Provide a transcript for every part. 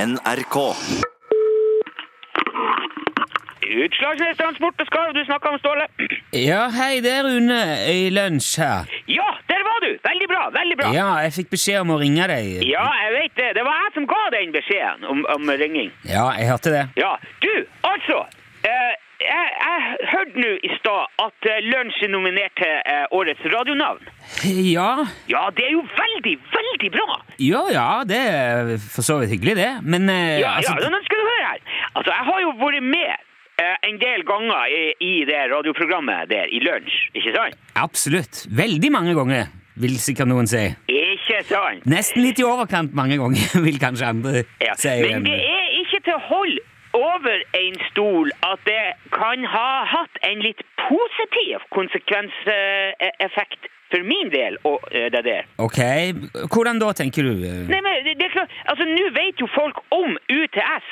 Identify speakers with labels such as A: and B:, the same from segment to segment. A: NRK.
B: Utslagsnettransport og skarv, du snakka om Ståle.
C: Ja, hei, det er Rune i lunsj her.
B: Ja, der var du! Veldig bra, veldig bra.
C: Ja, jeg fikk beskjed om å ringe deg.
B: Ja, jeg vet det. Det var jeg som ga den beskjeden om, om ringing.
C: Ja, jeg hørte det.
B: Ja, du, altså. Eh, jeg, jeg hørte nå i stad at eh, Lunsj er nominert til eh, årets radionavn.
C: Ja,
B: Ja, det er jo veldig, veldig bra!
C: ja, ja, det er for så vidt hyggelig det, men eh,
B: Ja,
C: altså,
B: ja, nå skal du høre her. Altså, jeg har jo vært med eh, en del ganger i, i det radioprogrammet der, i Lunsj, ikke sant?
C: absolutt. Veldig mange ganger, vil sikkert noen si.
B: Ikke sant?
C: Nesten litt i overkant mange ganger, vil kanskje andre
B: Ja.
C: si.
B: Men det er ikke til å holde over en stol at det kan ha hatt en litt positiv konsekvenseffekt for min del og eh, det der.
C: Ok, hvordan da, tenker du?
B: Nei, men det det er klart, altså nå vet jo folk om UTS,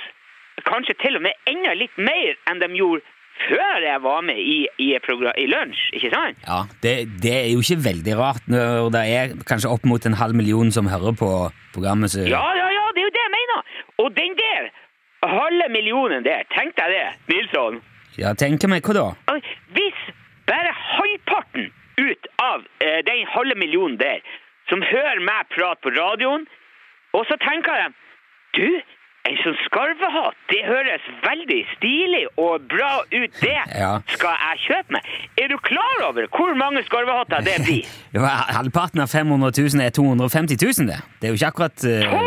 B: kanskje til og med enda litt mer enn de gjorde før jeg var med i, i, progra- i lunsj, ikke sant?
C: Ja, det, det er jo ikke veldig rart når det er kanskje opp mot en halv million som hører på programmet. Så...
B: Ja, ja, ja, det er jo det jeg mener. Og den der, halve millionen der, tenk deg det, Nilsson.
C: Ja, tenker meg, hva da?
B: Og Hvis bare halvparten ut av eh, den halve millionen der som hører meg prate på radioen, og så tenker de Du, en sånn skarvehatt, det høres veldig stilig og bra ut, det
C: Ja.
B: skal jeg kjøpe meg. Er du klar over hvor mange skarvehatter det blir?
C: Det var halvparten av 500 000 er 250 000, det. Det er jo ikke akkurat eh,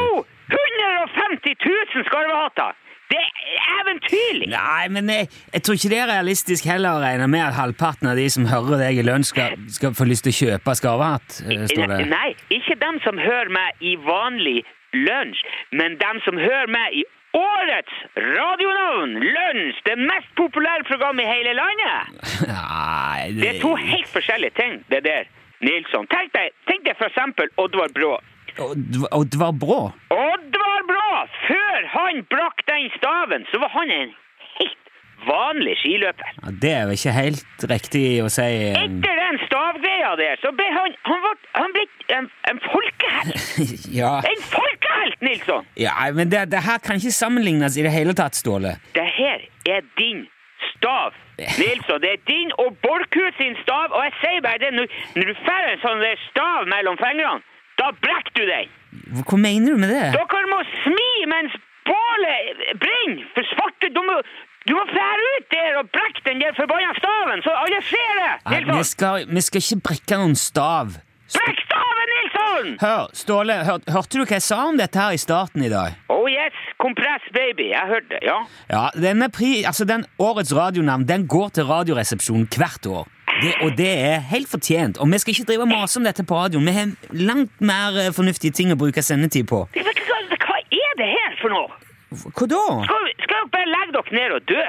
B: 250 000 skarvehatter! Det er eventyrlig!
C: Nei, men jeg, jeg tror ikke det er realistisk heller å regne med at halvparten av de som hører deg i lunsj, skal, skal få lyst til å kjøpe skarvehatt. eh, står det.
B: Nei, ikke dem som hører meg i vanlig lunsj, men dem som hører meg i årets radionavn, Lunsj, det mest populære programmet i hele landet.
C: Nei,
B: Det er to helt forskjellige ting, det der, Nilsson. Tenk deg, tenk deg for eksempel Oddvar Brå.
C: Odd- Oddvar Brå?
B: Oddvar Brå! Før han brakk den staven, så var han en helt vanlig skiløper.
C: Ja, Det er jo ikke helt riktig å si. eh,
B: Etter den stavgreia der, så ble han, han, ble, han ble en, en folkehelt.
C: Ja,
B: En folkehelt, Nilsson!
C: ja men det, det her kan ikke sammenlignes i det hele tatt, Ståle.
B: Det her er din stav, Nilsson. Det er din og Borchhus sin stav, og jeg sier bare det, når, når du får en sånn der stav mellom fingrene, da brekker du den.
C: Hva mener du med det?
B: Dere må smi mens bålet brenner, for svarte, du må, du må fære ut der og brekke den der forbanna staven, så alle ser det,
C: Nei, vi,
B: Nilsson.
C: skal, vi skal ikke brekke noen stav.
B: Brekk staven, Nilsson!
C: Hør, Ståle, hør, hørte du hva jeg sa om dette her i starten i dag?
B: Oh yes, kompress, baby. Jeg hørte det, ja.
C: Ja, denne pri, altså den Årets radionavn den går til Radioresepsjonen hvert år. Det, og det er helt fortjent. Og vi skal ikke drive og mase om dette på radioen. Vi har langt mer eh, fornuftige ting å bruke sendetid på.
B: Hva, hva- hva er det her for noe?
C: Hva da?
B: Skal, skal dere bare legge dere ned og dø?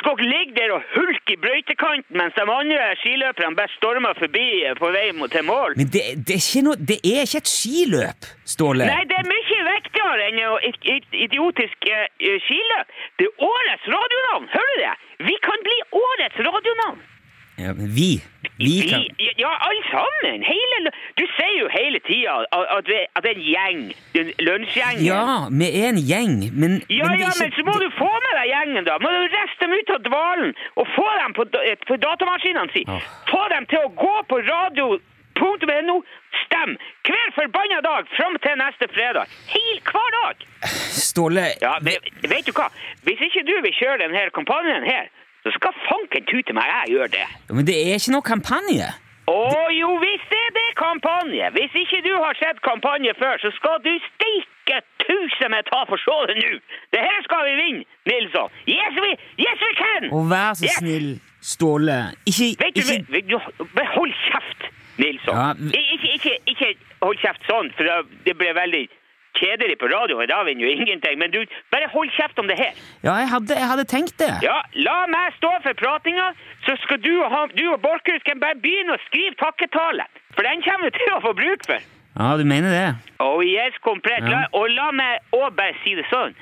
B: Skal dere ligge der og hulke i brøytekanten mens de andre skiløperne bare stormer forbi eh, på vei mot- til mål?
C: Men det, det, er ikke noe, det er ikke et skiløp, Ståle.
B: Nei, det er mye viktigere enn å it- it- idiotisk eh, eh, skiløp. Det er årets radionavn, hører du det? Vi kan bli årets radionavn.
C: Ja, men vi. Vi
B: Vi,
C: kan
B: ja, ja, alle sammen. Hele, lø- du sier jo hele tida at, at, vi- at det er en gjeng. En lunsjgjeng.
C: Ja, vi er en gjeng, men
B: Ja,
C: men det
B: ja,
C: er
B: men så må du få med deg gjengen, da. Må du reiste dem ut av dvalen og få dem på, da- eh, på datamaskinene si.
C: Åh.
B: Få dem til å gå på radio.no. Stem hver forbanna dag fram til neste fredag. Hel, hver dag.
C: Ståle,
B: Ja, men vet du hva? Hvis ikke du vil kjøre denne kampanjen her, så skal fanken tute meg jeg gjør det.
C: men det er ikke noe kampanje.
B: Å jo, hvis det er det kampanje. Hvis ikke du har sett kampanje før, så skal du steike tusen med ta for så det nå. Det her skal vi vinne, Nilsson. Yes, we, yes we can!
C: Og vær så
B: Ja.
C: snill, Ståle, ikke,
B: Vet du,
C: ikke
B: vet du, men hold kjeft, Nilsson.
C: Ja,
B: Ik- Ikke, ikke, ikke hold kjeft sånn, for da- det ble veldig kjedelig på radio, og da vinner jo ingenting. Men du, bare hold kjeft om det her.
C: Ja, jeg hadde, jeg hadde tenkt det.
B: Ja, la meg stå for pratinga, så skal du og, han, du og Borchhus kan bare begynne å skrive takketale. For den kommer du til å få bruk for.
C: Ja, du mener det?
B: Oh yes, komplett. La, og la meg òg bare si det sånn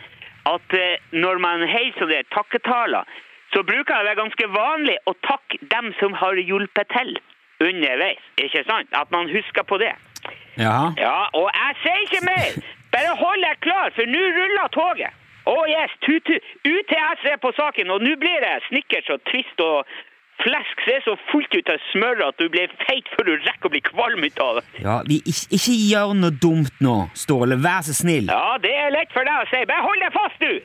B: at eh, når man heier sånne takketaler, så bruker det være ganske vanlig å takke dem som har hjulpet til underveis. Ikke sant? At man husker på det.
C: Ja.
B: Ja, og jeg sier ikke mer! Bare hold deg klar, for nå ruller toget. Å yes, tutu. UTS er på saken, og nå blir det snickers og twist og flesk ser så fullt ut av smør at du blir feit før du rekker å bli kvalm ut av det.
C: Ja, vi, ikke, ikke gjør noe dumt nå, Ståle. Vær så snill.
B: Ja, det er lett for deg å si. Bare hold deg fast, du!